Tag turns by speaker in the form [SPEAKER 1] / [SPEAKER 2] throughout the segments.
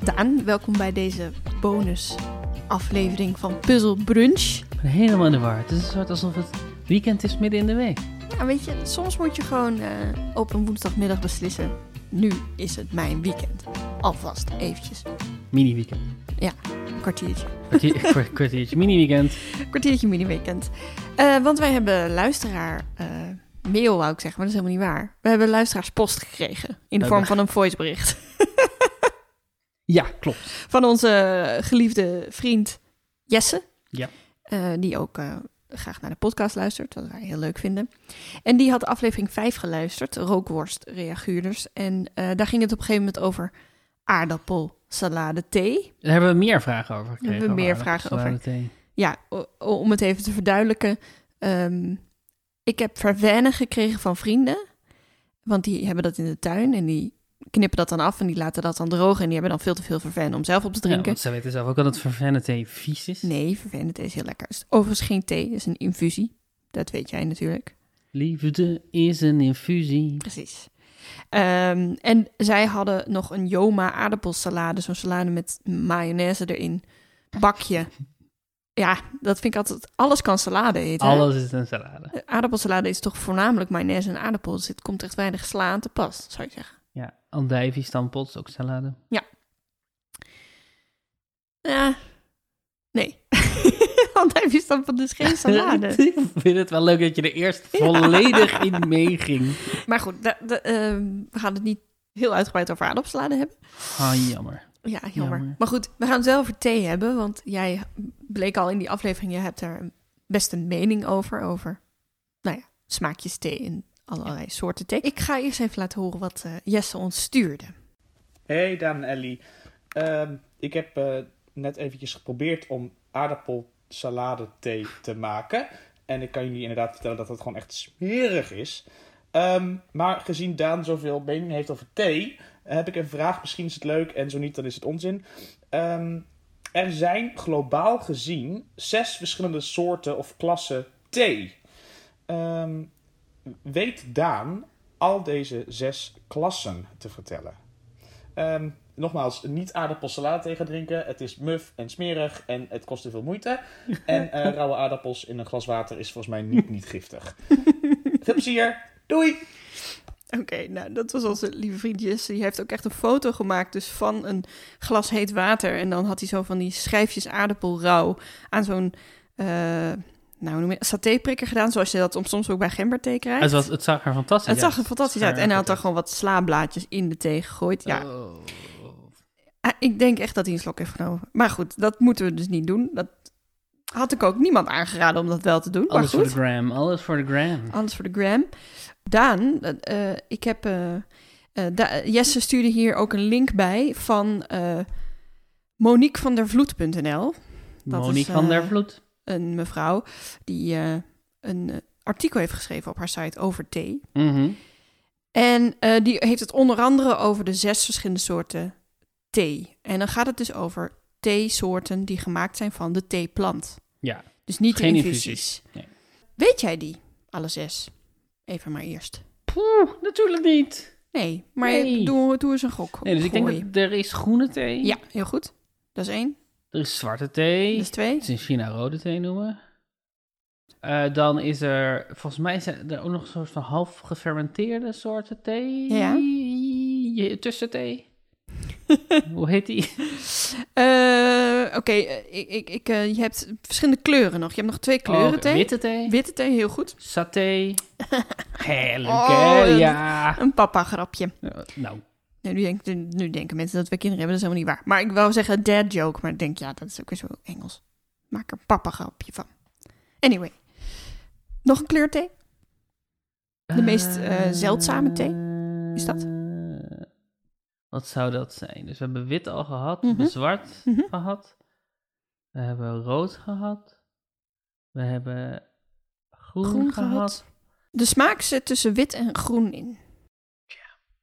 [SPEAKER 1] Daan, welkom bij deze bonus aflevering van Puzzle Brunch.
[SPEAKER 2] Ik ben helemaal in de war. Het is een soort alsof het weekend is midden in de week.
[SPEAKER 1] Ja, weet je, soms moet je gewoon eh, op een woensdagmiddag beslissen. Nu is het mijn weekend. Alvast eventjes.
[SPEAKER 2] Mini-weekend.
[SPEAKER 1] Een kwartiertje.
[SPEAKER 2] Kwartier- kwart- Kwartiertje mini-weekend.
[SPEAKER 1] Een kwartiertje mini-weekend. Eh, want wij hebben luisteraar eh, mail, wou ik zeggen, maar dat is helemaal niet waar. We hebben luisteraarspost gekregen. In de
[SPEAKER 2] Eh,
[SPEAKER 1] vorm
[SPEAKER 2] we-
[SPEAKER 1] van een voicebericht.
[SPEAKER 2] Ja, klopt.
[SPEAKER 1] Van onze geliefde vriend Jesse.
[SPEAKER 2] Ja.
[SPEAKER 1] Eh, die ook eh, graag naar de podcast luistert, wat wij heel leuk vinden. En die had aflevering 5 geluisterd, Rookworst Reaguurders. En eh, daar ging het op een gegeven moment over aardappelsalade thee.
[SPEAKER 2] Daar hebben we meer vragen over gekregen.
[SPEAKER 1] hebben we meer
[SPEAKER 2] over
[SPEAKER 1] vragen
[SPEAKER 2] aardappels, salade, thee.
[SPEAKER 1] Ja, o- om het even te verduidelijken. ehm, ik heb verwennen gekregen van vrienden. Want die hebben dat in de tuin en die knippen dat dan af en die laten dat dan drogen. En die hebben dan veel te veel verwennen om zelf op te
[SPEAKER 2] Ja,
[SPEAKER 1] drinken.
[SPEAKER 2] want ze weten zelf ook al dat vervenne thee vies is.
[SPEAKER 1] Nee, verwennen thee is heel lekker. Het is Overigens geen thee, het is een infusie. Dat weet jij natuurlijk.
[SPEAKER 2] Liefde is een infusie.
[SPEAKER 1] Precies. Ehm, en zij hadden nog een Joma aardappelsalade, zo'n salade met mayonaise erin, bakje. Ja, dat vind ik altijd. Alles kan salade eten. hè?
[SPEAKER 2] Alles is een salade.
[SPEAKER 1] Aardappelsalade is toch voornamelijk mayonaise en aardappel. Dus het komt echt weinig sla aan te pas, zou ik zeggen.
[SPEAKER 2] Ja, andijvie, stamppot is ook salade.
[SPEAKER 1] Ja, nee. Want hij wist dan van dus geen salade.
[SPEAKER 2] Ik vind het wel leuk dat je er eerst volledig in meeging.
[SPEAKER 1] maar goed, da- da- ehm, we gaan het niet heel uitgebreid over aardappelsalade hebben.
[SPEAKER 2] Ah, jammer.
[SPEAKER 1] Ja, jammer.
[SPEAKER 2] Jammer.
[SPEAKER 1] Maar goed, we gaan het wel over thee hebben, want jij bleek al in die aflevering, je hebt daar best een mening over, over, nou ja, smaakjes thee en allerlei soorten thee. Ik ga eerst even laten horen wat eh, Jesse ons stuurde.
[SPEAKER 3] Hey Daan en Ellie. Ehm, ik heb eh, net eventjes geprobeerd om aardappelsalade thee te maken. En ik kan jullie inderdaad vertellen dat dat gewoon echt smerig is. Ehm, maar gezien Daan zoveel mening heeft over thee, heb ik een vraag. Misschien is het leuk en zo niet, dan is het onzin. Ehm, er zijn globaal gezien zes verschillende soorten of klassen thee. Ehm, weet Daan al deze zes klassen te vertellen? Ehm, nogmaals, niet aardappelsalade tegen drinken. Het is muf en smerig en het kost te veel moeite. En eh, rauwe aardappels in een glas water is volgens mij niet, niet giftig. veel plezier. Doei!
[SPEAKER 1] Oké, nou dat was onze lieve vriend Jesse. Die heeft ook echt een foto gemaakt dus van een glas heet water. En dan had hij zo van die schijfjes aardappelrauw aan zo'n, eh, nou hoe noem je dat, satéprikker gedaan. Zoals je dat om- soms ook bij gemberthee krijgt.
[SPEAKER 2] Het, was, het zag er fantastisch
[SPEAKER 1] Het zag
[SPEAKER 2] uit.
[SPEAKER 1] er fantastisch
[SPEAKER 2] Het
[SPEAKER 1] uit.
[SPEAKER 2] zag
[SPEAKER 1] En hij had daar
[SPEAKER 2] er
[SPEAKER 1] gewoon wat slaablaadjes in de thee gegooid. Ja,
[SPEAKER 2] Oh.
[SPEAKER 1] Ah, Ik denk echt dat hij een slok heeft genomen. Maar goed, dat moeten we dus niet doen. Dat had ik ook niemand aangeraden om dat wel te doen.
[SPEAKER 2] Alles
[SPEAKER 1] maar
[SPEAKER 2] voor de
[SPEAKER 1] goed, Ah,
[SPEAKER 2] gram, alles voor de gram.
[SPEAKER 1] alles voor de gram. Daan, eh, eh, ik heb... eh, eh, Da- Jesse stuurde hier ook een link bij van eh Monique van der Vloed.nl. dat
[SPEAKER 2] Monique
[SPEAKER 1] is,
[SPEAKER 2] van
[SPEAKER 1] eh,
[SPEAKER 2] der Vloed.
[SPEAKER 1] Een mevrouw die eh, een eh, artikel heeft geschreven op haar site over thee.
[SPEAKER 2] Mhm.
[SPEAKER 1] En eh, die heeft het onder andere over de zes verschillende soorten thee. En dan gaat het dus over theesoorten die gemaakt zijn van de theeplant.
[SPEAKER 2] Ja.
[SPEAKER 1] Dus niet de
[SPEAKER 2] Geen
[SPEAKER 1] infusies.
[SPEAKER 2] infusies, nee.
[SPEAKER 1] Weet jij die, alle zes? Even maar eerst.
[SPEAKER 2] Poeh, natuurlijk niet.
[SPEAKER 1] Nee, maar
[SPEAKER 2] Nee.
[SPEAKER 1] Doe, doe eens een gok.
[SPEAKER 2] Nee, dus ik denk
[SPEAKER 1] Gooi.
[SPEAKER 2] dat er is groene thee.
[SPEAKER 1] Ja, Dus heel goed. Dat is één.
[SPEAKER 2] Er is zwarte thee.
[SPEAKER 1] Dat is twee.
[SPEAKER 2] Het is in China rode thee noemen. Eh, dan is er, volgens mij zijn er ook nog een soort van half gefermenteerde soorten thee.
[SPEAKER 1] Ja.
[SPEAKER 2] Je- Tussenthee. Hoe heet die?
[SPEAKER 1] Eh, Oké, eh, ik, ik, ik, eh, je hebt verschillende kleuren nog. Je hebt nog twee kleuren
[SPEAKER 2] Oh,
[SPEAKER 1] thee.
[SPEAKER 2] Witte thee.
[SPEAKER 1] Witte thee, heel goed.
[SPEAKER 2] Saté. Hé, leuk
[SPEAKER 1] Oh,
[SPEAKER 2] hè?
[SPEAKER 1] dat-
[SPEAKER 2] Ja.
[SPEAKER 1] Een papa grapje.
[SPEAKER 2] Nou,
[SPEAKER 1] Nee, nu, denk, nu denken mensen dat we kinderen hebben, dat is helemaal niet waar. Maar ik wou zeggen dad joke, maar ik denk, ja, dat is ook weer zo Engels. Maak er een papa grapje van. Anyway. Nog een kleur thee? De meest, eh, zeldzame thee? Is dat?
[SPEAKER 2] Eh, Wat zou dat zijn? Dus we hebben wit al gehad, we
[SPEAKER 1] Mhm.
[SPEAKER 2] hebben zwart
[SPEAKER 1] Mhm.
[SPEAKER 2] gehad, we hebben rood gehad, we hebben groen,
[SPEAKER 1] Groen
[SPEAKER 2] gehad,
[SPEAKER 1] gehad. De smaak zit tussen wit en groen in.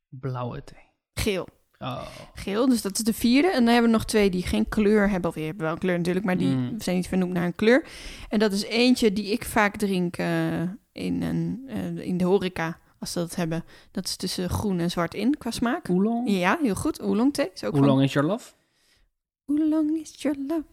[SPEAKER 2] blauwe thee.
[SPEAKER 1] Geel.
[SPEAKER 2] Oh.
[SPEAKER 1] Geel, dus dat is de vierde. En dan hebben we nog twee die geen kleur hebben. Of die hebben wel een kleur natuurlijk, maar die
[SPEAKER 2] Mm.
[SPEAKER 1] zijn niet vernoemd naar een kleur. En dat is eentje die ik vaak drink eh, in, een, eh, in de horeca, als ze dat hebben. Dat is tussen groen en zwart in qua smaak.
[SPEAKER 2] Oolong?
[SPEAKER 1] Ja, heel goed. Oolong thee is ook van
[SPEAKER 2] Oolong is your love?
[SPEAKER 1] Hoe long is your love?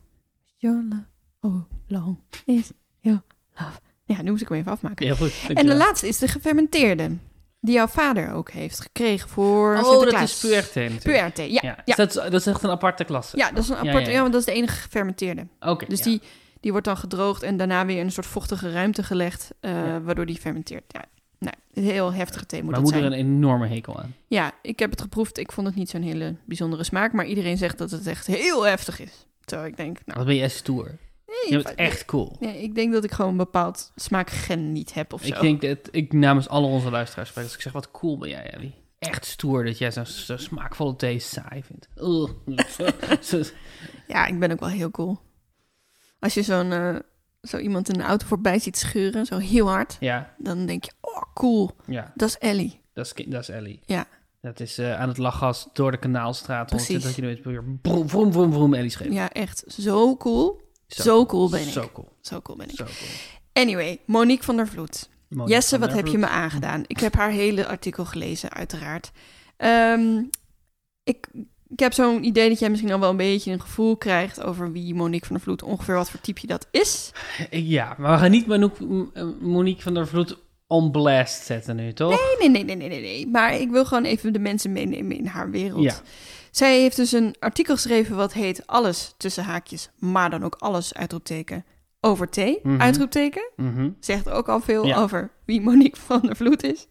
[SPEAKER 1] Your love. Oh, long is your love. Ja, nu moest ik hem even afmaken.
[SPEAKER 2] Heel goed.
[SPEAKER 1] En de
[SPEAKER 2] dankjewel.
[SPEAKER 1] laatste is de gefermenteerde. Die jouw vader ook heeft gekregen voor
[SPEAKER 2] Oh, dat
[SPEAKER 1] Sinterklaas.
[SPEAKER 2] is puerte natuurlijk.
[SPEAKER 1] Puerte, ja.
[SPEAKER 2] Ja. Dus dat, is, dat is echt een aparte klasse.
[SPEAKER 1] Ja, dat is een apart...
[SPEAKER 2] Ja,
[SPEAKER 1] Ja,
[SPEAKER 2] ja, ja.
[SPEAKER 1] want dat is de enige gefermenteerde.
[SPEAKER 2] Oké.
[SPEAKER 1] Dus
[SPEAKER 2] ja.
[SPEAKER 1] die, die wordt dan gedroogd en daarna weer in een soort vochtige ruimte gelegd, eh,
[SPEAKER 2] Ja.
[SPEAKER 1] waardoor die fermenteert. Ja, nou, een heel heftige thee moet
[SPEAKER 2] Mijn
[SPEAKER 1] dat
[SPEAKER 2] moeder
[SPEAKER 1] zijn. Nou.
[SPEAKER 2] een enorme hekel aan.
[SPEAKER 1] Ja, ik heb het geproefd. Ik vond het niet zo'n hele bijzondere smaak, maar iedereen zegt dat het echt heel heftig is. Terwijl ik denk, nou...
[SPEAKER 2] Wat ben jij stoer. Je bent
[SPEAKER 1] ik-
[SPEAKER 2] echt cool.
[SPEAKER 1] Nee, ik denk dat ik gewoon een bepaald smaakgen niet heb of zo.
[SPEAKER 2] Ik denk dat ik namens alle onze luisteraars spreek. Dus ik zeg, wat cool ben jij, Ellie. Echt stoer dat jij zo'n zo'n smaakvolle thee saai vindt. Ugh. Zo-
[SPEAKER 1] Ja, ik ben ook wel heel cool. Als je zo'n, eh, zo iemand in een auto voorbij ziet schuren, zo heel hard,
[SPEAKER 2] ja,
[SPEAKER 1] dan denk je, oh cool,
[SPEAKER 2] ja,
[SPEAKER 1] dat is Ellie.
[SPEAKER 2] dat is, ki- dat is Ellie.
[SPEAKER 1] Ja.
[SPEAKER 2] Dat is eh, aan het lachgas door de kanaalstraat.
[SPEAKER 1] Precies.
[SPEAKER 2] Dat je nooit weer vroom, vroom, vroom, vroom Ellie schreef.
[SPEAKER 1] Ja, echt zo cool. Zo, cool ben ik.
[SPEAKER 2] Zo
[SPEAKER 1] Zo.
[SPEAKER 2] cool.
[SPEAKER 1] cool ben ik.
[SPEAKER 2] Zo cool.
[SPEAKER 1] Anyway, Monique van der Vloed.
[SPEAKER 2] Monique
[SPEAKER 1] Jesse,
[SPEAKER 2] van
[SPEAKER 1] wat
[SPEAKER 2] der
[SPEAKER 1] heb je
[SPEAKER 2] Vloed.
[SPEAKER 1] me aangedaan? Ik heb haar hele artikel gelezen, uiteraard. Ehm, ik, ik heb zo'n idee dat jij misschien al wel een beetje een gevoel krijgt over wie Monique van der Vloed, ongeveer wat voor type je dat is.
[SPEAKER 2] Ja, maar we gaan niet Manouk- M- Monique van der Vloed on blast zetten nu, toch?
[SPEAKER 1] Nee, nee, nee, nee, nee, nee. Maar ik wil gewoon even de mensen meenemen in haar wereld.
[SPEAKER 2] Ja.
[SPEAKER 1] Zij heeft dus een artikel geschreven wat heet Alles tussen haakjes, maar dan ook alles uitroepteken over thee.
[SPEAKER 2] Mhm.
[SPEAKER 1] Uitroepteken.
[SPEAKER 2] Mhm.
[SPEAKER 1] Zegt ook al veel
[SPEAKER 2] Ja.
[SPEAKER 1] over wie Monique van der Vloed is.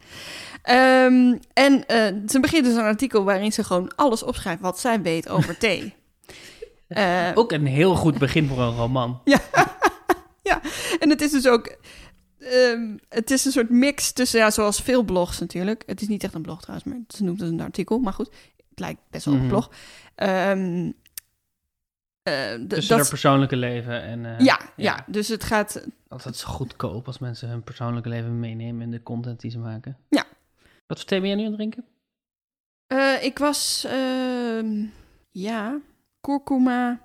[SPEAKER 1] Ehm, en eh, ze begint dus een artikel waarin ze gewoon alles opschrijft wat zij weet over thee. Eh,
[SPEAKER 2] Ook een heel goed begin voor een roman.
[SPEAKER 1] En het is dus ook. ehm, het is een soort mix tussen, ja, zoals veel blogs natuurlijk. Het is niet echt een blog trouwens, maar ze noemt het een artikel. Maar goed, het lijkt best wel op
[SPEAKER 2] Mhm.
[SPEAKER 1] een blog. Ehm, eh, d-
[SPEAKER 2] Tussen haar
[SPEAKER 1] dat,
[SPEAKER 2] persoonlijke leven en... eh,
[SPEAKER 1] ja, ja, dus het gaat.
[SPEAKER 2] Altijd zo goedkoop als mensen hun persoonlijke leven meenemen in de content die ze maken.
[SPEAKER 1] Ja.
[SPEAKER 2] Wat voor thee ben jij nu aan het drinken?
[SPEAKER 1] eh, ik was. ehm, ja, kurkuma.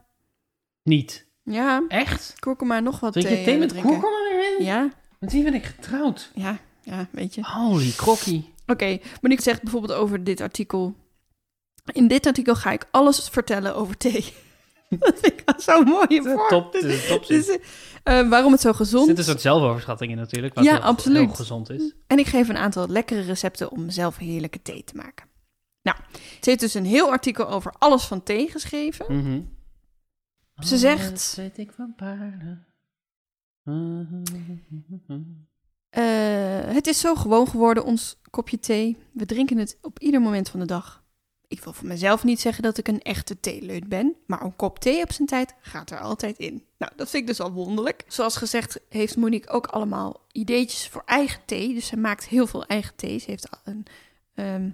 [SPEAKER 2] Niet.
[SPEAKER 1] Ja,
[SPEAKER 2] Echt?
[SPEAKER 1] kurkuma, nog wat
[SPEAKER 2] Drink je
[SPEAKER 1] thee,
[SPEAKER 2] thee
[SPEAKER 1] eh,
[SPEAKER 2] met
[SPEAKER 1] drinken.
[SPEAKER 2] kurkuma erin?
[SPEAKER 1] Ja,
[SPEAKER 2] Met wie ben ik getrouwd?
[SPEAKER 1] ja, ja, weet je.
[SPEAKER 2] Holy crokkie.
[SPEAKER 1] Oké, Monique zegt bijvoorbeeld over dit artikel. In dit artikel ga ik alles vertellen over thee. dat vind ik al zo'n mooie vorm.
[SPEAKER 2] Top, dit is een top
[SPEAKER 1] Dus, eh, waarom het zo gezond
[SPEAKER 2] Dit is een zelfoverschatting in natuurlijk, wat
[SPEAKER 1] Ja,
[SPEAKER 2] heel,
[SPEAKER 1] absoluut.
[SPEAKER 2] heel gezond is.
[SPEAKER 1] En ik geef een aantal lekkere recepten om zelf heerlijke thee te maken. Nou, ze heeft dus een heel artikel over alles van thee geschreven.
[SPEAKER 2] Mhm.
[SPEAKER 1] Ze zegt-
[SPEAKER 2] Alles weet ik van paarden. Mhm.
[SPEAKER 1] Eh, het is zo gewoon geworden, ons kopje thee. We drinken het op ieder moment van de dag. Ik wil voor mezelf niet zeggen dat ik een echte theeleut ben, maar een kop thee op zijn tijd gaat er altijd in. Nou, dat vind ik dus al wonderlijk. Zoals gezegd heeft Monique ook allemaal ideetjes voor eigen thee. Dus ze maakt heel veel eigen thee. Ze heeft al een, ehm,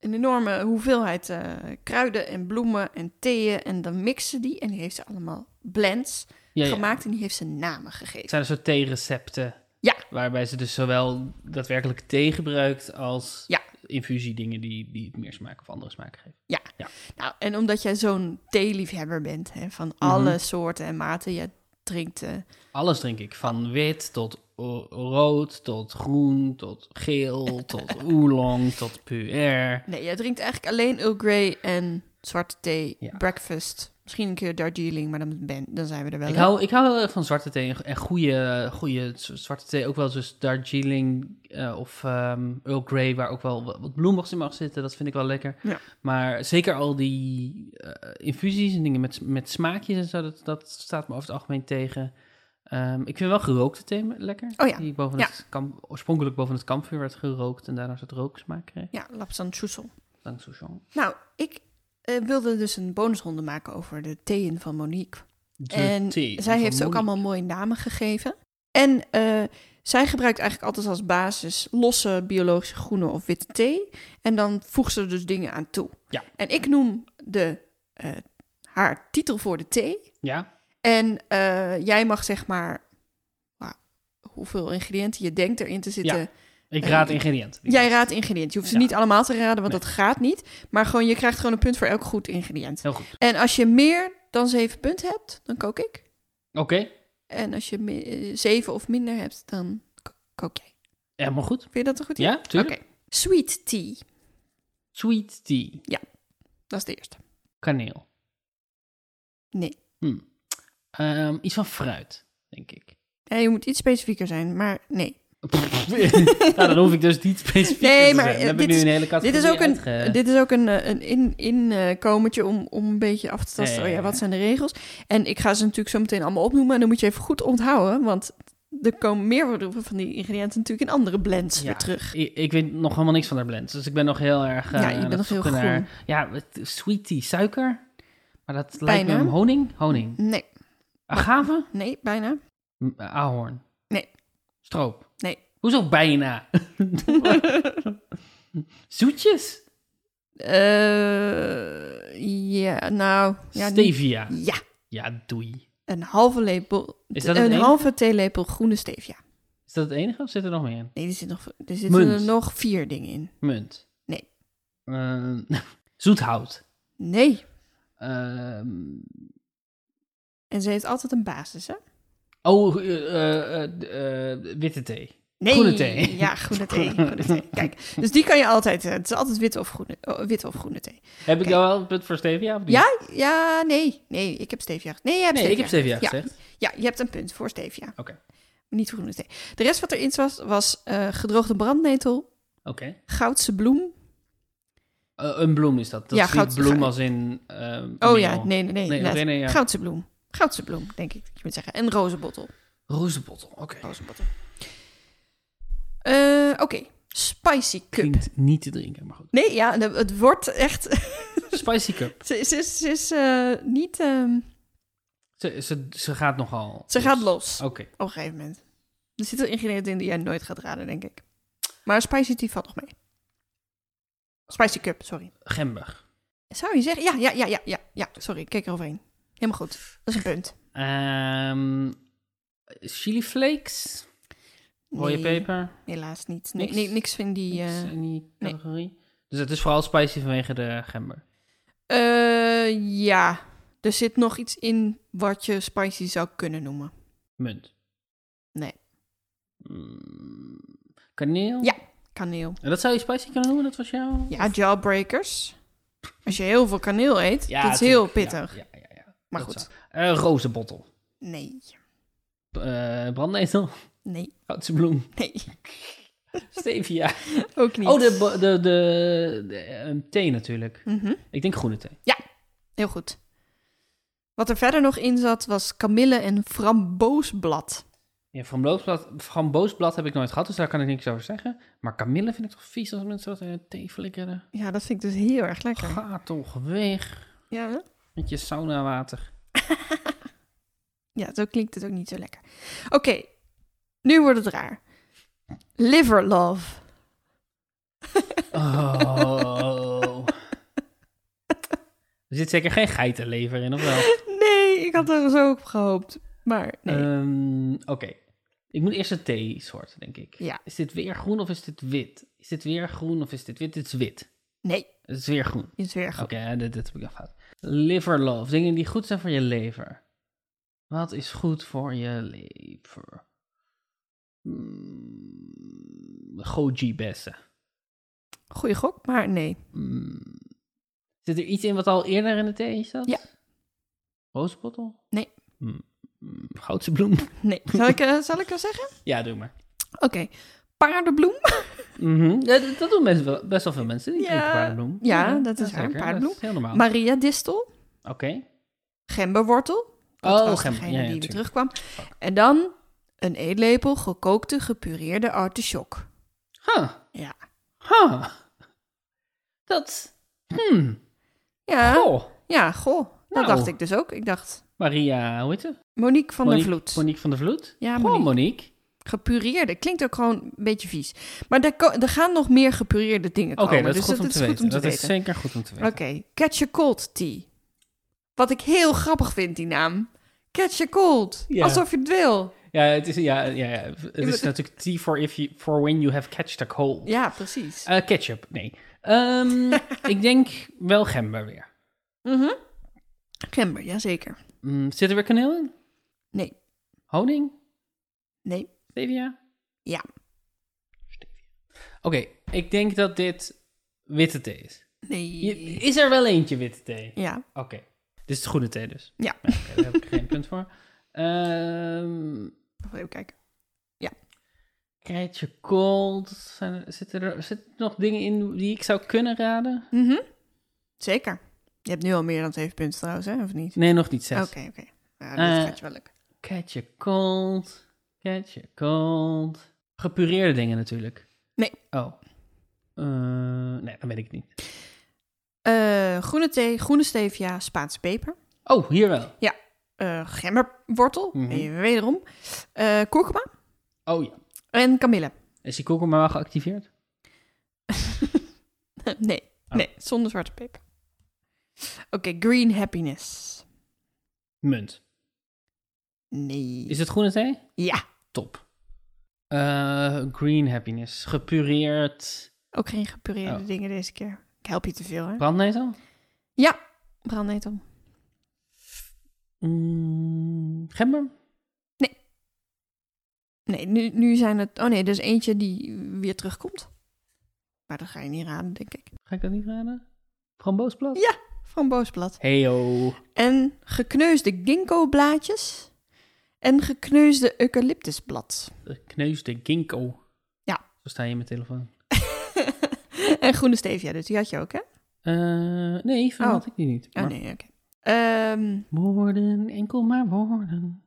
[SPEAKER 1] een enorme hoeveelheid eh, kruiden en bloemen en theeën. En dan mixen ze die en die heeft ze allemaal blends
[SPEAKER 2] Ja, ja.
[SPEAKER 1] gemaakt en die heeft ze namen gegeven.
[SPEAKER 2] Het zijn dus een soort theerecepten.
[SPEAKER 1] Ja.
[SPEAKER 2] Waarbij ze dus zowel daadwerkelijk thee gebruikt als
[SPEAKER 1] Ja.
[SPEAKER 2] infusiedingen die, die meer smaak of andere smaak geven.
[SPEAKER 1] Nou, en omdat jij zo'n theeliefhebber bent, hè, van
[SPEAKER 2] Mhm.
[SPEAKER 1] alle soorten en maten, jij drinkt... eh,
[SPEAKER 2] Alles drink ik. Van wit tot o- rood, tot groen, tot geel, tot oolong, tot puer.
[SPEAKER 1] nee, jij drinkt eigenlijk alleen Earl Grey en zwarte thee,
[SPEAKER 2] Ja.
[SPEAKER 1] breakfast. Misschien een keer Darjeeling, maar dan, ben, dan zijn we er wel
[SPEAKER 2] Ik
[SPEAKER 1] in.
[SPEAKER 2] hou, ik hou heel erg van zwarte thee en- en goede, goede z- zwarte thee. Ook wel dus Darjeeling eh, of ehm, Earl Grey, waar ook wel wat wat bloemigs in mag zitten. Dat vind ik wel lekker.
[SPEAKER 1] Ja.
[SPEAKER 2] Maar zeker al die eh, infusies en dingen met, met smaakjes en zo, dat, dat staat me over het algemeen tegen. Ehm, ik vind wel gerookte thee me- lekker.
[SPEAKER 1] Oh ja.
[SPEAKER 2] Die boven
[SPEAKER 1] Ja.
[SPEAKER 2] het kamp, oorspronkelijk boven het kampvuur werd gerookt en daarna een soort rooksmaak kreeg.
[SPEAKER 1] Ja, Lapsan Chusel.
[SPEAKER 2] Dank Souchon.
[SPEAKER 1] Nou, ik eh, wilde dus een bonusronde maken over de theeën van Monique.
[SPEAKER 2] De
[SPEAKER 1] en
[SPEAKER 2] thee
[SPEAKER 1] zij
[SPEAKER 2] van
[SPEAKER 1] heeft ze ook
[SPEAKER 2] Monique.
[SPEAKER 1] allemaal mooie namen gegeven. En eh, zij gebruikt eigenlijk altijd als basis losse biologische groene of witte thee. En dan voegt ze er dus dingen aan toe.
[SPEAKER 2] Ja.
[SPEAKER 1] En ik noem de, eh, haar titel voor de thee.
[SPEAKER 2] Ja,
[SPEAKER 1] En eh, jij mag zeg maar nou, hoeveel ingrediënten je denkt erin te zitten.
[SPEAKER 2] ik
[SPEAKER 1] Eh,
[SPEAKER 2] raad ingrediënten.
[SPEAKER 1] Jij raadt ingrediënten. Je hoeft ze
[SPEAKER 2] Ja.
[SPEAKER 1] niet allemaal te raden, want
[SPEAKER 2] Nee.
[SPEAKER 1] dat gaat niet. Maar gewoon, je krijgt gewoon een punt voor elk goed ingrediënt.
[SPEAKER 2] Heel goed.
[SPEAKER 1] En als je meer dan zeven punten hebt, dan kook ik.
[SPEAKER 2] Oké,
[SPEAKER 1] En als je mi- eh, zeven of minder hebt, dan ko- kook jij.
[SPEAKER 2] helemaal goed.
[SPEAKER 1] Vind je dat een goed idee?
[SPEAKER 2] Ja, tuurlijk.
[SPEAKER 1] Oké. Sweet tea,
[SPEAKER 2] Sweet tea,
[SPEAKER 1] dat is de eerste.
[SPEAKER 2] kaneel.
[SPEAKER 1] Nee.
[SPEAKER 2] Hm. Ehm, iets van fruit, denk ik.
[SPEAKER 1] Ja, je moet iets specifieker zijn, maar nee.
[SPEAKER 2] nou, dan hoef ik dus niet specifiek
[SPEAKER 1] Nee,
[SPEAKER 2] te
[SPEAKER 1] maar,
[SPEAKER 2] zijn. Dan
[SPEAKER 1] eh,
[SPEAKER 2] heb
[SPEAKER 1] dit
[SPEAKER 2] ik nu
[SPEAKER 1] is-
[SPEAKER 2] een hele
[SPEAKER 1] Dit
[SPEAKER 2] categorie
[SPEAKER 1] is, ook een,
[SPEAKER 2] uitge-
[SPEAKER 1] dit is ook een, eh, een in- inkomertje om, om een beetje af te tasten.
[SPEAKER 2] Ja, ja,
[SPEAKER 1] Oh ja,
[SPEAKER 2] ja.
[SPEAKER 1] wat zijn de regels? En ik ga ze natuurlijk zo meteen allemaal opnoemen. En dan moet je even goed onthouden. Want er komen meer van die ingrediënten natuurlijk in andere blends
[SPEAKER 2] Ja.
[SPEAKER 1] weer terug.
[SPEAKER 2] Ik, ik weet nog helemaal niks van haar blends. Dus ik ben nog heel erg. eh,
[SPEAKER 1] Ja, je
[SPEAKER 2] aan
[SPEAKER 1] bent
[SPEAKER 2] het
[SPEAKER 1] nog heel
[SPEAKER 2] zoeken naar- Ja, het- sweet tea, suiker. Maar dat lijkt me
[SPEAKER 1] Bijna.
[SPEAKER 2] om honing. Honing.
[SPEAKER 1] Nee,
[SPEAKER 2] Agave?
[SPEAKER 1] nee, bijna.
[SPEAKER 2] M- eh, Ahorn.
[SPEAKER 1] Nee.
[SPEAKER 2] Stroop.
[SPEAKER 1] Nee.
[SPEAKER 2] Hoezo bijna? Zoetjes?
[SPEAKER 1] Eh, ja, nou... Ja, niet-
[SPEAKER 2] Stevia.
[SPEAKER 1] Ja,
[SPEAKER 2] Ja, doei.
[SPEAKER 1] een halve lepel...
[SPEAKER 2] Is dat het
[SPEAKER 1] een
[SPEAKER 2] enige?
[SPEAKER 1] halve theelepel groene stevia.
[SPEAKER 2] Is dat het enige of zit er nog meer in?
[SPEAKER 1] Nee, er, zit nog, er zitten er
[SPEAKER 2] Munt.
[SPEAKER 1] nog vier dingen in.
[SPEAKER 2] Munt.
[SPEAKER 1] Nee.
[SPEAKER 2] Eh, zoethout.
[SPEAKER 1] Nee.
[SPEAKER 2] Ehm,
[SPEAKER 1] En ze heeft altijd een basis, hè?
[SPEAKER 2] oh, eh, eh, eh, eh, witte thee.
[SPEAKER 1] Nee.
[SPEAKER 2] Groene thee.
[SPEAKER 1] Ja, groene thee. Groene thee. Kijk, dus die kan je altijd... eh, Het is altijd witte of groene, oh, witte of groene thee.
[SPEAKER 2] Heb ik
[SPEAKER 1] Oké.
[SPEAKER 2] jou wel een punt voor stevia? Of niet?
[SPEAKER 1] Ja, ja, nee. Nee, ik heb stevia. Nee, jij hebt
[SPEAKER 2] Nee,
[SPEAKER 1] stevia.
[SPEAKER 2] ik heb stevia
[SPEAKER 1] Ja.
[SPEAKER 2] gezegd.
[SPEAKER 1] Ja, je hebt een punt voor stevia.
[SPEAKER 2] Oké.
[SPEAKER 1] Niet groene thee. De rest wat erin was, was eh, gedroogde brandnetel,
[SPEAKER 2] Oké.
[SPEAKER 1] goudse bloem. Oh
[SPEAKER 2] Eh, een bloem is dat. Dat
[SPEAKER 1] Ja,
[SPEAKER 2] is
[SPEAKER 1] goud-
[SPEAKER 2] niet bloem
[SPEAKER 1] goud-
[SPEAKER 2] als in... eh,
[SPEAKER 1] Oh
[SPEAKER 2] meel.
[SPEAKER 1] ja, nee, nee, nee.
[SPEAKER 2] Nee,
[SPEAKER 1] inderdaad.
[SPEAKER 2] nee, nee, ja.
[SPEAKER 1] Goudse bloem. Goudse bloem, denk ik. dat Je moet zeggen. En rozenbottel.
[SPEAKER 2] Rozenbottel, oké.
[SPEAKER 1] rozenbottel. Eh, Oké, spicy cup.
[SPEAKER 2] Klinkt niet te drinken, maar goed.
[SPEAKER 1] Nee, ja, de- het wordt echt...
[SPEAKER 2] Spicy cup.
[SPEAKER 1] ze, ze is- ze is eh, niet... ehm,
[SPEAKER 2] Ze, ze, ze gaat nogal...
[SPEAKER 1] ze gaat los
[SPEAKER 2] Oké.
[SPEAKER 1] op een gegeven moment. Er zitten ingrediënten in die jij nooit gaat raden, denk ik. Maar spicy tea valt nog mee. Spicy cup, sorry.
[SPEAKER 2] Gember.
[SPEAKER 1] Zou je zeggen? Ja, ja, ja, ja, ja. ja. Sorry, ik keek eroverheen. Helemaal goed. Dat is een punt.
[SPEAKER 2] Ehm chili flakes. Rode
[SPEAKER 1] Nee,
[SPEAKER 2] peper.
[SPEAKER 1] Helaas niet. Nee,
[SPEAKER 2] Niks.
[SPEAKER 1] nee, niks in die...
[SPEAKER 2] Niks
[SPEAKER 1] eh,
[SPEAKER 2] in die
[SPEAKER 1] nee.
[SPEAKER 2] categorie. Dus het is vooral spicy vanwege de gember.
[SPEAKER 1] Eh, ja, er zit nog iets in wat je spicy zou kunnen noemen.
[SPEAKER 2] Munt.
[SPEAKER 1] Nee.
[SPEAKER 2] Mm, kaneel.
[SPEAKER 1] Ja. Kaneel.
[SPEAKER 2] En dat zou je spicy kunnen noemen? Dat was jouw...
[SPEAKER 1] Ja, jawbreakers. Als je heel veel kaneel eet, dat is heel
[SPEAKER 2] tuurlijk.
[SPEAKER 1] pittig.
[SPEAKER 2] Ja, ja, ja, ja.
[SPEAKER 1] maar
[SPEAKER 2] Dat
[SPEAKER 1] goed,
[SPEAKER 2] zou- Eh, rozenbottel.
[SPEAKER 1] nee,
[SPEAKER 2] Eh brandnetel.
[SPEAKER 1] nee,
[SPEAKER 2] Goudse bloem.
[SPEAKER 1] nee,
[SPEAKER 2] Stevia.
[SPEAKER 1] ook niet.
[SPEAKER 2] Oh, de, bo- de, de, de, eh, thee natuurlijk.
[SPEAKER 1] Mhm,
[SPEAKER 2] Ik denk groene thee.
[SPEAKER 1] Heel goed. Wat er verder nog in zat, was kamille en framboosblad.
[SPEAKER 2] Ja, framboosblad, framboosblad heb ik nooit gehad, dus daar kan ik niks over zeggen. Maar kamille vind ik toch vies als mensen dat in de thee flikkeren.
[SPEAKER 1] Ja, dat vind ik dus heel erg lekker.
[SPEAKER 2] Ga toch weg
[SPEAKER 1] Ja, hè?
[SPEAKER 2] met je saunawater.
[SPEAKER 1] ja zo klinkt het ook niet zo lekker. Oké, nu wordt het raar. Liver love.
[SPEAKER 2] Oh. er zit zeker geen geitenlever in, of wel?
[SPEAKER 1] Nee, ik had er zo op gehoopt. Maar nee.
[SPEAKER 2] Ehm, Oké. Ik moet eerst een thee-soort, denk ik.
[SPEAKER 1] Ja.
[SPEAKER 2] Is dit weer groen of is dit wit? Is dit weer groen of is dit wit? Dit is wit.
[SPEAKER 1] nee,
[SPEAKER 2] Het is weer groen.
[SPEAKER 1] is weer
[SPEAKER 2] Oké,
[SPEAKER 1] goed.
[SPEAKER 2] ja, dit, dit heb ik afgehaald. Liver love. Dingen die goed zijn voor je lever. Wat is goed voor je lever? Mm, Goji-bessen.
[SPEAKER 1] Goeie gok, maar nee.
[SPEAKER 2] Mm. Zit er iets in wat al eerder in de thee zat?
[SPEAKER 1] Ja.
[SPEAKER 2] Rozenbottel?
[SPEAKER 1] Nee.
[SPEAKER 2] Mm, mm, Goudse bloem?
[SPEAKER 1] Nee. Zal ik, eh, zal ik er zeggen?
[SPEAKER 2] Ja, doe maar.
[SPEAKER 1] Oké. Paardenbloem.
[SPEAKER 2] Mhm. Ja, dat, dat doen mensen wel, best wel veel mensen. Die
[SPEAKER 1] Ja.
[SPEAKER 2] drinken paardenbloem.
[SPEAKER 1] Ja, dat is waar,
[SPEAKER 2] lekker.
[SPEAKER 1] paardenbloem.
[SPEAKER 2] Dat is heel normaal.
[SPEAKER 1] Maria distel.
[SPEAKER 2] Oké.
[SPEAKER 1] Gemberwortel. Dat
[SPEAKER 2] Oh,
[SPEAKER 1] was
[SPEAKER 2] gember.
[SPEAKER 1] degene
[SPEAKER 2] Ja, ja,
[SPEAKER 1] die weer
[SPEAKER 2] tuurlijk.
[SPEAKER 1] terugkwam. En dan een eetlepel gekookte gepureerde artichok.
[SPEAKER 2] Huh.
[SPEAKER 1] Ja.
[SPEAKER 2] Huh. Dat... Hmm.
[SPEAKER 1] Ja,
[SPEAKER 2] Goh.
[SPEAKER 1] ja goh. Dat
[SPEAKER 2] Nou.
[SPEAKER 1] dacht ik dus ook. Ik dacht,
[SPEAKER 2] Maria, hoe heet ze?
[SPEAKER 1] Monique van
[SPEAKER 2] Monique-
[SPEAKER 1] der Vloed.
[SPEAKER 2] Monique van der Vloed?
[SPEAKER 1] Ja,
[SPEAKER 2] Goh,
[SPEAKER 1] Monique.
[SPEAKER 2] Monique.
[SPEAKER 1] Gepureerde. Klinkt ook gewoon een beetje vies. Maar er, ko- er gaan nog meer gepureerde dingen
[SPEAKER 2] Oké,
[SPEAKER 1] komen.
[SPEAKER 2] dat is
[SPEAKER 1] dus
[SPEAKER 2] goed om te
[SPEAKER 1] is
[SPEAKER 2] weten. Dat is
[SPEAKER 1] weten.
[SPEAKER 2] zeker goed om te weten.
[SPEAKER 1] Oké, Catch a Cold Tea. Wat ik heel grappig vind, die naam. Catch a Cold.
[SPEAKER 2] Ja.
[SPEAKER 1] Alsof je het wil.
[SPEAKER 2] Ja, het is, ja, ja, ja. het is
[SPEAKER 1] maar-
[SPEAKER 2] natuurlijk tea for, if you, for when you have catched a cold.
[SPEAKER 1] Ja, precies.
[SPEAKER 2] Eh, ketchup, nee. Ehm, ik denk wel gember weer. Eh,
[SPEAKER 1] Mhm. Gember, jazeker.
[SPEAKER 2] Mm, zit er weer kaneel in?
[SPEAKER 1] Nee.
[SPEAKER 2] Honing?
[SPEAKER 1] Nee.
[SPEAKER 2] Stevia?
[SPEAKER 1] Ja.
[SPEAKER 2] Stevia. Oké, ik denk dat dit witte thee is.
[SPEAKER 1] Nee.
[SPEAKER 2] Je- is er wel eentje witte thee?
[SPEAKER 1] Ja.
[SPEAKER 2] Oké. Dit is de groene thee dus.
[SPEAKER 1] Ja.
[SPEAKER 2] Oké, daar heb ik geen punt voor. Ehm
[SPEAKER 1] Even kijken.
[SPEAKER 2] Krijtje cold. Zijn er, zitten er zitten er nog dingen in die ik zou kunnen raden?
[SPEAKER 1] Mhm. Zeker. Je hebt nu al meer dan zeven punten trouwens, hè? Of niet?
[SPEAKER 2] Nee, nog niet zes.
[SPEAKER 1] Oké,
[SPEAKER 2] Krijtje
[SPEAKER 1] oké. Nou, dit
[SPEAKER 2] Eh,
[SPEAKER 1] gaat je wel lukken.
[SPEAKER 2] cold. Krijtje cold. Gepureerde dingen natuurlijk.
[SPEAKER 1] Nee.
[SPEAKER 2] Oh. Eh, nee, dan weet ik het niet.
[SPEAKER 1] Eh, groene thee, groene stevia, Spaanse peper.
[SPEAKER 2] Oh, hier wel.
[SPEAKER 1] eh, gemberwortel,
[SPEAKER 2] Mhm.
[SPEAKER 1] even wederom. eh kurkuma
[SPEAKER 2] Oh ja.
[SPEAKER 1] en kamille.
[SPEAKER 2] Is die kurkuma wel geactiveerd?
[SPEAKER 1] nee,
[SPEAKER 2] Oh.
[SPEAKER 1] nee, zonder zwarte peper. Oké, green happiness.
[SPEAKER 2] Munt.
[SPEAKER 1] Nee.
[SPEAKER 2] Is het groene thee?
[SPEAKER 1] Ja,
[SPEAKER 2] Top. Eh, green happiness. Gepureerd.
[SPEAKER 1] ook geen gepureerde
[SPEAKER 2] Oh.
[SPEAKER 1] dingen deze keer. Ik help je te veel, hè?
[SPEAKER 2] Brandnetel?
[SPEAKER 1] Brandnetel.
[SPEAKER 2] Mm, gember?
[SPEAKER 1] Nee, nu, nu zijn het... Oh nee, er is eentje die weer terugkomt. Maar dat ga je niet raden, denk ik.
[SPEAKER 2] Ga ik dat niet raden? Framboosblad?
[SPEAKER 1] Ja. Framboosblad.
[SPEAKER 2] Heyo.
[SPEAKER 1] En gekneusde ginkgo-blaadjes. En gekneusde eucalyptusblad.
[SPEAKER 2] De kneusde ginkgo.
[SPEAKER 1] Ja.
[SPEAKER 2] Zo sta je in mijn telefoon.
[SPEAKER 1] en groene stevia, dus die had je ook, hè?
[SPEAKER 2] Eh, nee, van
[SPEAKER 1] Oh.
[SPEAKER 2] had ik die niet.
[SPEAKER 1] Oh
[SPEAKER 2] Maar
[SPEAKER 1] nee, oké. Ehm,
[SPEAKER 2] Woorden, enkel maar woorden.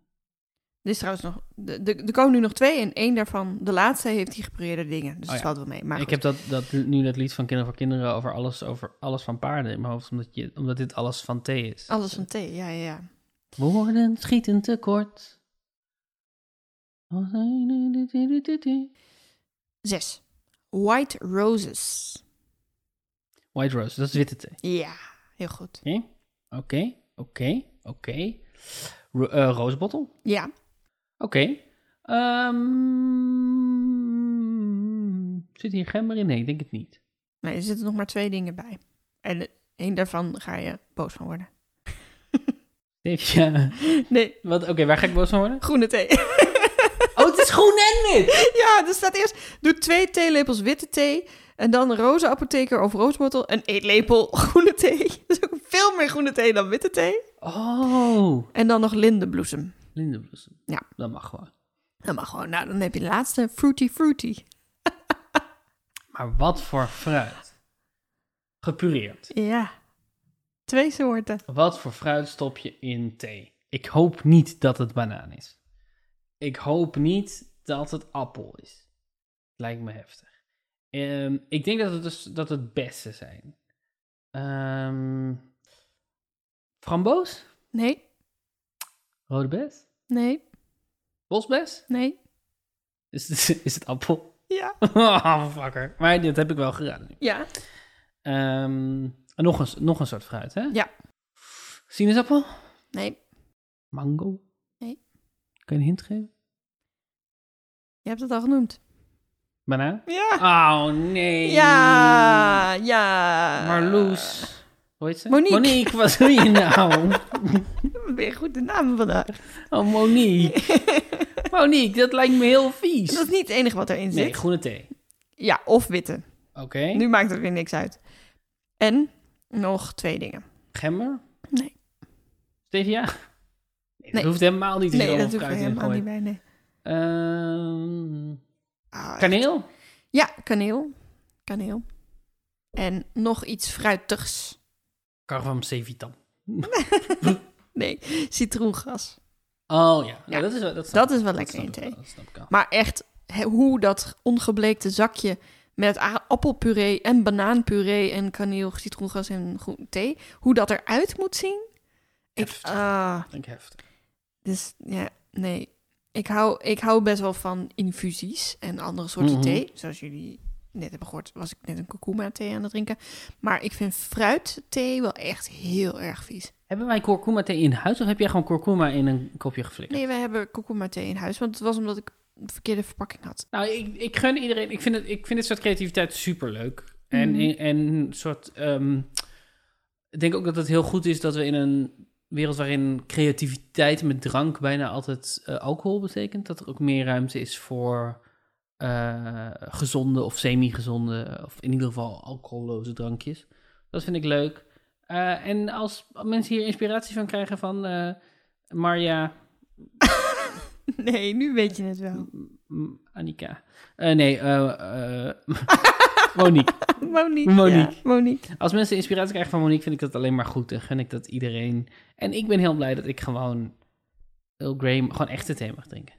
[SPEAKER 1] dit is trouwens nog... de- de- Er komen nu nog twee en één daarvan, de laatste, heeft die gepureerde dingen. Dus
[SPEAKER 2] Oh
[SPEAKER 1] dat
[SPEAKER 2] ja.
[SPEAKER 1] valt wel mee. Maar
[SPEAKER 2] ik
[SPEAKER 1] goed.
[SPEAKER 2] heb dat, dat, nu dat lied van Kinderen voor Kinderen over alles, over alles van paarden in mijn hoofd, omdat, je, omdat dit alles van thee is.
[SPEAKER 1] Alles van thee, ja, ja, ja.
[SPEAKER 2] Woorden schieten tekort. White
[SPEAKER 1] Zes. White roses.
[SPEAKER 2] Rose, dat is witte thee.
[SPEAKER 1] Ja, heel goed.
[SPEAKER 2] Oké, oké, oké, oké. Ro- eh, Roosbottel?
[SPEAKER 1] Ja,
[SPEAKER 2] Oké. Ehm, zit hier gember in? Nee, ik denk het niet.
[SPEAKER 1] nee, er zitten nog maar twee dingen bij. En één daarvan ga je boos van worden.
[SPEAKER 2] Ja.
[SPEAKER 1] Nee,
[SPEAKER 2] Wat? Oké, waar ga ik boos van worden?
[SPEAKER 1] groene thee.
[SPEAKER 2] Oh, het is groen en wit!
[SPEAKER 1] ja, er staat eerst... Doe twee theelepels witte thee... en dan een roze apotheker of rooswortel... en eet lepel groene thee. Dat is ook veel meer groene thee dan witte thee.
[SPEAKER 2] Oh,
[SPEAKER 1] En dan nog lindenbloesem.
[SPEAKER 2] lindenbloesem.
[SPEAKER 1] Ja.
[SPEAKER 2] Dat mag gewoon.
[SPEAKER 1] Dat mag gewoon. Nou, dan heb je de laatste. Fruity Fruity.
[SPEAKER 2] Maar wat voor fruit? Gepureerd.
[SPEAKER 1] Ja. Twee soorten.
[SPEAKER 2] Wat voor fruit stop je in thee? Ik hoop niet dat het banaan is. Ik hoop niet dat het appel is. Lijkt me heftig. Ehm, ik denk dat het, dus, dat het beste zijn. Ehm framboos?
[SPEAKER 1] Nee,
[SPEAKER 2] Rode bes?
[SPEAKER 1] nee,
[SPEAKER 2] Bosbes?
[SPEAKER 1] nee.
[SPEAKER 2] Is het, is het appel?
[SPEAKER 1] Ja.
[SPEAKER 2] oh, fucker. Maar dit heb ik wel geraden.
[SPEAKER 1] Ja.
[SPEAKER 2] Ehm, en nog, een, nog een soort fruit, hè?
[SPEAKER 1] Ja.
[SPEAKER 2] Sinaasappel?
[SPEAKER 1] Nee.
[SPEAKER 2] Mango?
[SPEAKER 1] Nee.
[SPEAKER 2] Kan je een hint geven?
[SPEAKER 1] Je hebt het al genoemd.
[SPEAKER 2] Banaan?
[SPEAKER 1] Ja.
[SPEAKER 2] Oh, nee.
[SPEAKER 1] Ja. Ja.
[SPEAKER 2] Marloes. Hoe heet ze?
[SPEAKER 1] Monique.
[SPEAKER 2] Monique, wat doe je nou?
[SPEAKER 1] Dan ben je goed de namen vandaag.
[SPEAKER 2] Oh, Monique. Monique, dat lijkt me heel vies.
[SPEAKER 1] Dat is niet het enige wat erin zit.
[SPEAKER 2] Nee, groene thee.
[SPEAKER 1] Ja, of witte.
[SPEAKER 2] Oké.
[SPEAKER 1] Nu maakt het weer niks uit. En nog twee dingen.
[SPEAKER 2] Gember?
[SPEAKER 1] Nee.
[SPEAKER 2] Stevia? Nee, dat
[SPEAKER 1] Nee.
[SPEAKER 2] hoeft helemaal niet.
[SPEAKER 1] Nee, dat hoef je helemaal niet
[SPEAKER 2] meer.
[SPEAKER 1] bij. Nee. Ah,
[SPEAKER 2] Ehm, kaneel?
[SPEAKER 1] Ja, kaneel. Kaneel. En nog iets fruitigs.
[SPEAKER 2] Carvam sevitam.
[SPEAKER 1] Nee, citroengras.
[SPEAKER 2] Oh ja,
[SPEAKER 1] Ja,
[SPEAKER 2] Nou, dat is wel, dat snap
[SPEAKER 1] Dat
[SPEAKER 2] ik.
[SPEAKER 1] is wel lekker
[SPEAKER 2] snap
[SPEAKER 1] in
[SPEAKER 2] ik wel,
[SPEAKER 1] thee.
[SPEAKER 2] Dat snap ik al.
[SPEAKER 1] Maar echt, hè, hoe dat ongebleekte zakje met a- appelpuree en banaanpuree en kaneel, citroengras en groen thee, hoe dat eruit moet zien. Ik,
[SPEAKER 2] Heftig.
[SPEAKER 1] ah,
[SPEAKER 2] Ik heftig.
[SPEAKER 1] dus ja, nee. Ik hou, ik hou best wel van infusies en andere soorten
[SPEAKER 2] Mhm.
[SPEAKER 1] thee. Zoals jullie net hebben gehoord, was ik net een kurkuma thee aan het drinken. Maar ik vind fruitthee wel echt heel erg vies.
[SPEAKER 2] Hebben wij kurkuma thee in huis of heb jij gewoon kurkuma in een kopje geflikkerd?
[SPEAKER 1] Nee, we hebben kurkuma thee in huis, want het was omdat ik de verkeerde verpakking had.
[SPEAKER 2] Nou, ik, ik gun iedereen. Ik vind, het, ik vind dit soort creativiteit superleuk. En,
[SPEAKER 1] Mhm.
[SPEAKER 2] en een soort. ehm, ik denk ook dat het heel goed is dat we in een wereld waarin creativiteit met drank bijna altijd eh, alcohol betekent, dat er ook meer ruimte is voor eh, gezonde of semi-gezonde, of in ieder geval alcoholloze drankjes. Dat vind ik leuk. Ehm, Eh, en als mensen hier inspiratie van krijgen van eh, Marja,
[SPEAKER 1] Nee, nu weet je het wel.
[SPEAKER 2] m, Annika. Eh, nee, eh, eh, Monique.
[SPEAKER 1] Monique.
[SPEAKER 2] Monique.
[SPEAKER 1] Ja, Monique.
[SPEAKER 2] Als mensen inspiratie krijgen van Monique, vind ik dat alleen maar goed. En gun ik dat iedereen. En ik ben heel blij dat ik gewoon Earl Grey, gewoon echte thee mag drinken.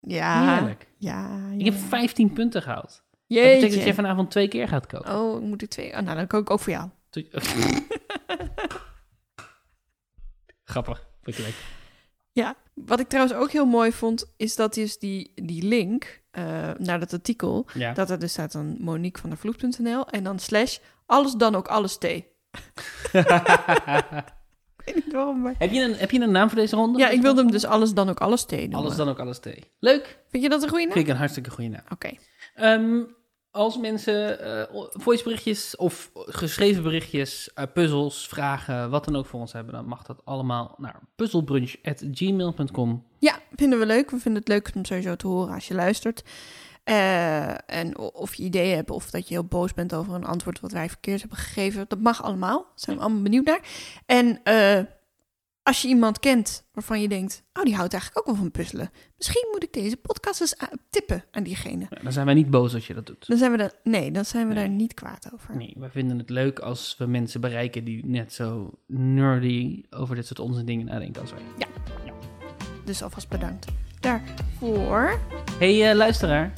[SPEAKER 1] Ja.
[SPEAKER 2] Heerlijk.
[SPEAKER 1] Ja,
[SPEAKER 2] Ik
[SPEAKER 1] Ah. ja.
[SPEAKER 2] heb 15 punten gehaald. Dat
[SPEAKER 1] Jeetje.
[SPEAKER 2] betekent dat jij vanavond twee keer gaat koken.
[SPEAKER 1] Oh, moet ik twee? Oh, nou, dan kook ik ook voor jou.
[SPEAKER 2] Toen- Grappig. Vond ik leuk.
[SPEAKER 1] Ja, wat ik trouwens ook heel mooi vond, is dat is die, die link eh, naar dat artikel,
[SPEAKER 2] Ja.
[SPEAKER 1] dat er dus staat dan Monique van der Vloed.nl en dan slash alles dan ook alles thee. Ik weet niet waarom, maar...
[SPEAKER 2] heb, je een, heb je een naam voor deze ronde?
[SPEAKER 1] Ja, ik wilde hem dus alles dan ook alles thee noemen.
[SPEAKER 2] Alles dan ook alles thee. Leuk.
[SPEAKER 1] Vind je dat een goede naam?
[SPEAKER 2] Vind ik een hartstikke goede naam.
[SPEAKER 1] Oké.
[SPEAKER 2] Ehm, als mensen eh voiceberichtjes of geschreven berichtjes, eh, puzzels, vragen, wat dan ook voor ons hebben, dan mag dat allemaal naar puzzelbrunch.gmail.com.
[SPEAKER 1] Ja, vinden we leuk. We vinden het leuk om sowieso te horen als je luistert. Eh, en o- of je ideeën hebt of dat je heel boos bent over een antwoord wat wij verkeerd hebben gegeven. Dat mag allemaal. Daar zijn we allemaal benieuwd naar. En eh, als je iemand kent waarvan je denkt, oh die houdt eigenlijk ook wel van puzzelen. Misschien moet ik deze podcast eens a- tippen aan diegene.
[SPEAKER 2] Ja, Nou, dan zijn wij niet boos als je dat doet.
[SPEAKER 1] Dan zijn we daar, nee, dan zijn we
[SPEAKER 2] Nee.
[SPEAKER 1] daar niet kwaad over.
[SPEAKER 2] Nee, wij vinden het leuk als we mensen bereiken die net zo nerdy over dit soort onzin dingen nadenken als wij.
[SPEAKER 1] Dus alvast bedankt daarvoor.
[SPEAKER 2] Hey eh, luisteraar,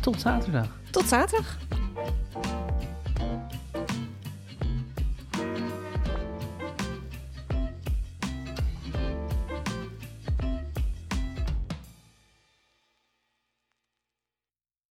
[SPEAKER 2] tot zaterdag.
[SPEAKER 1] Tot zaterdag.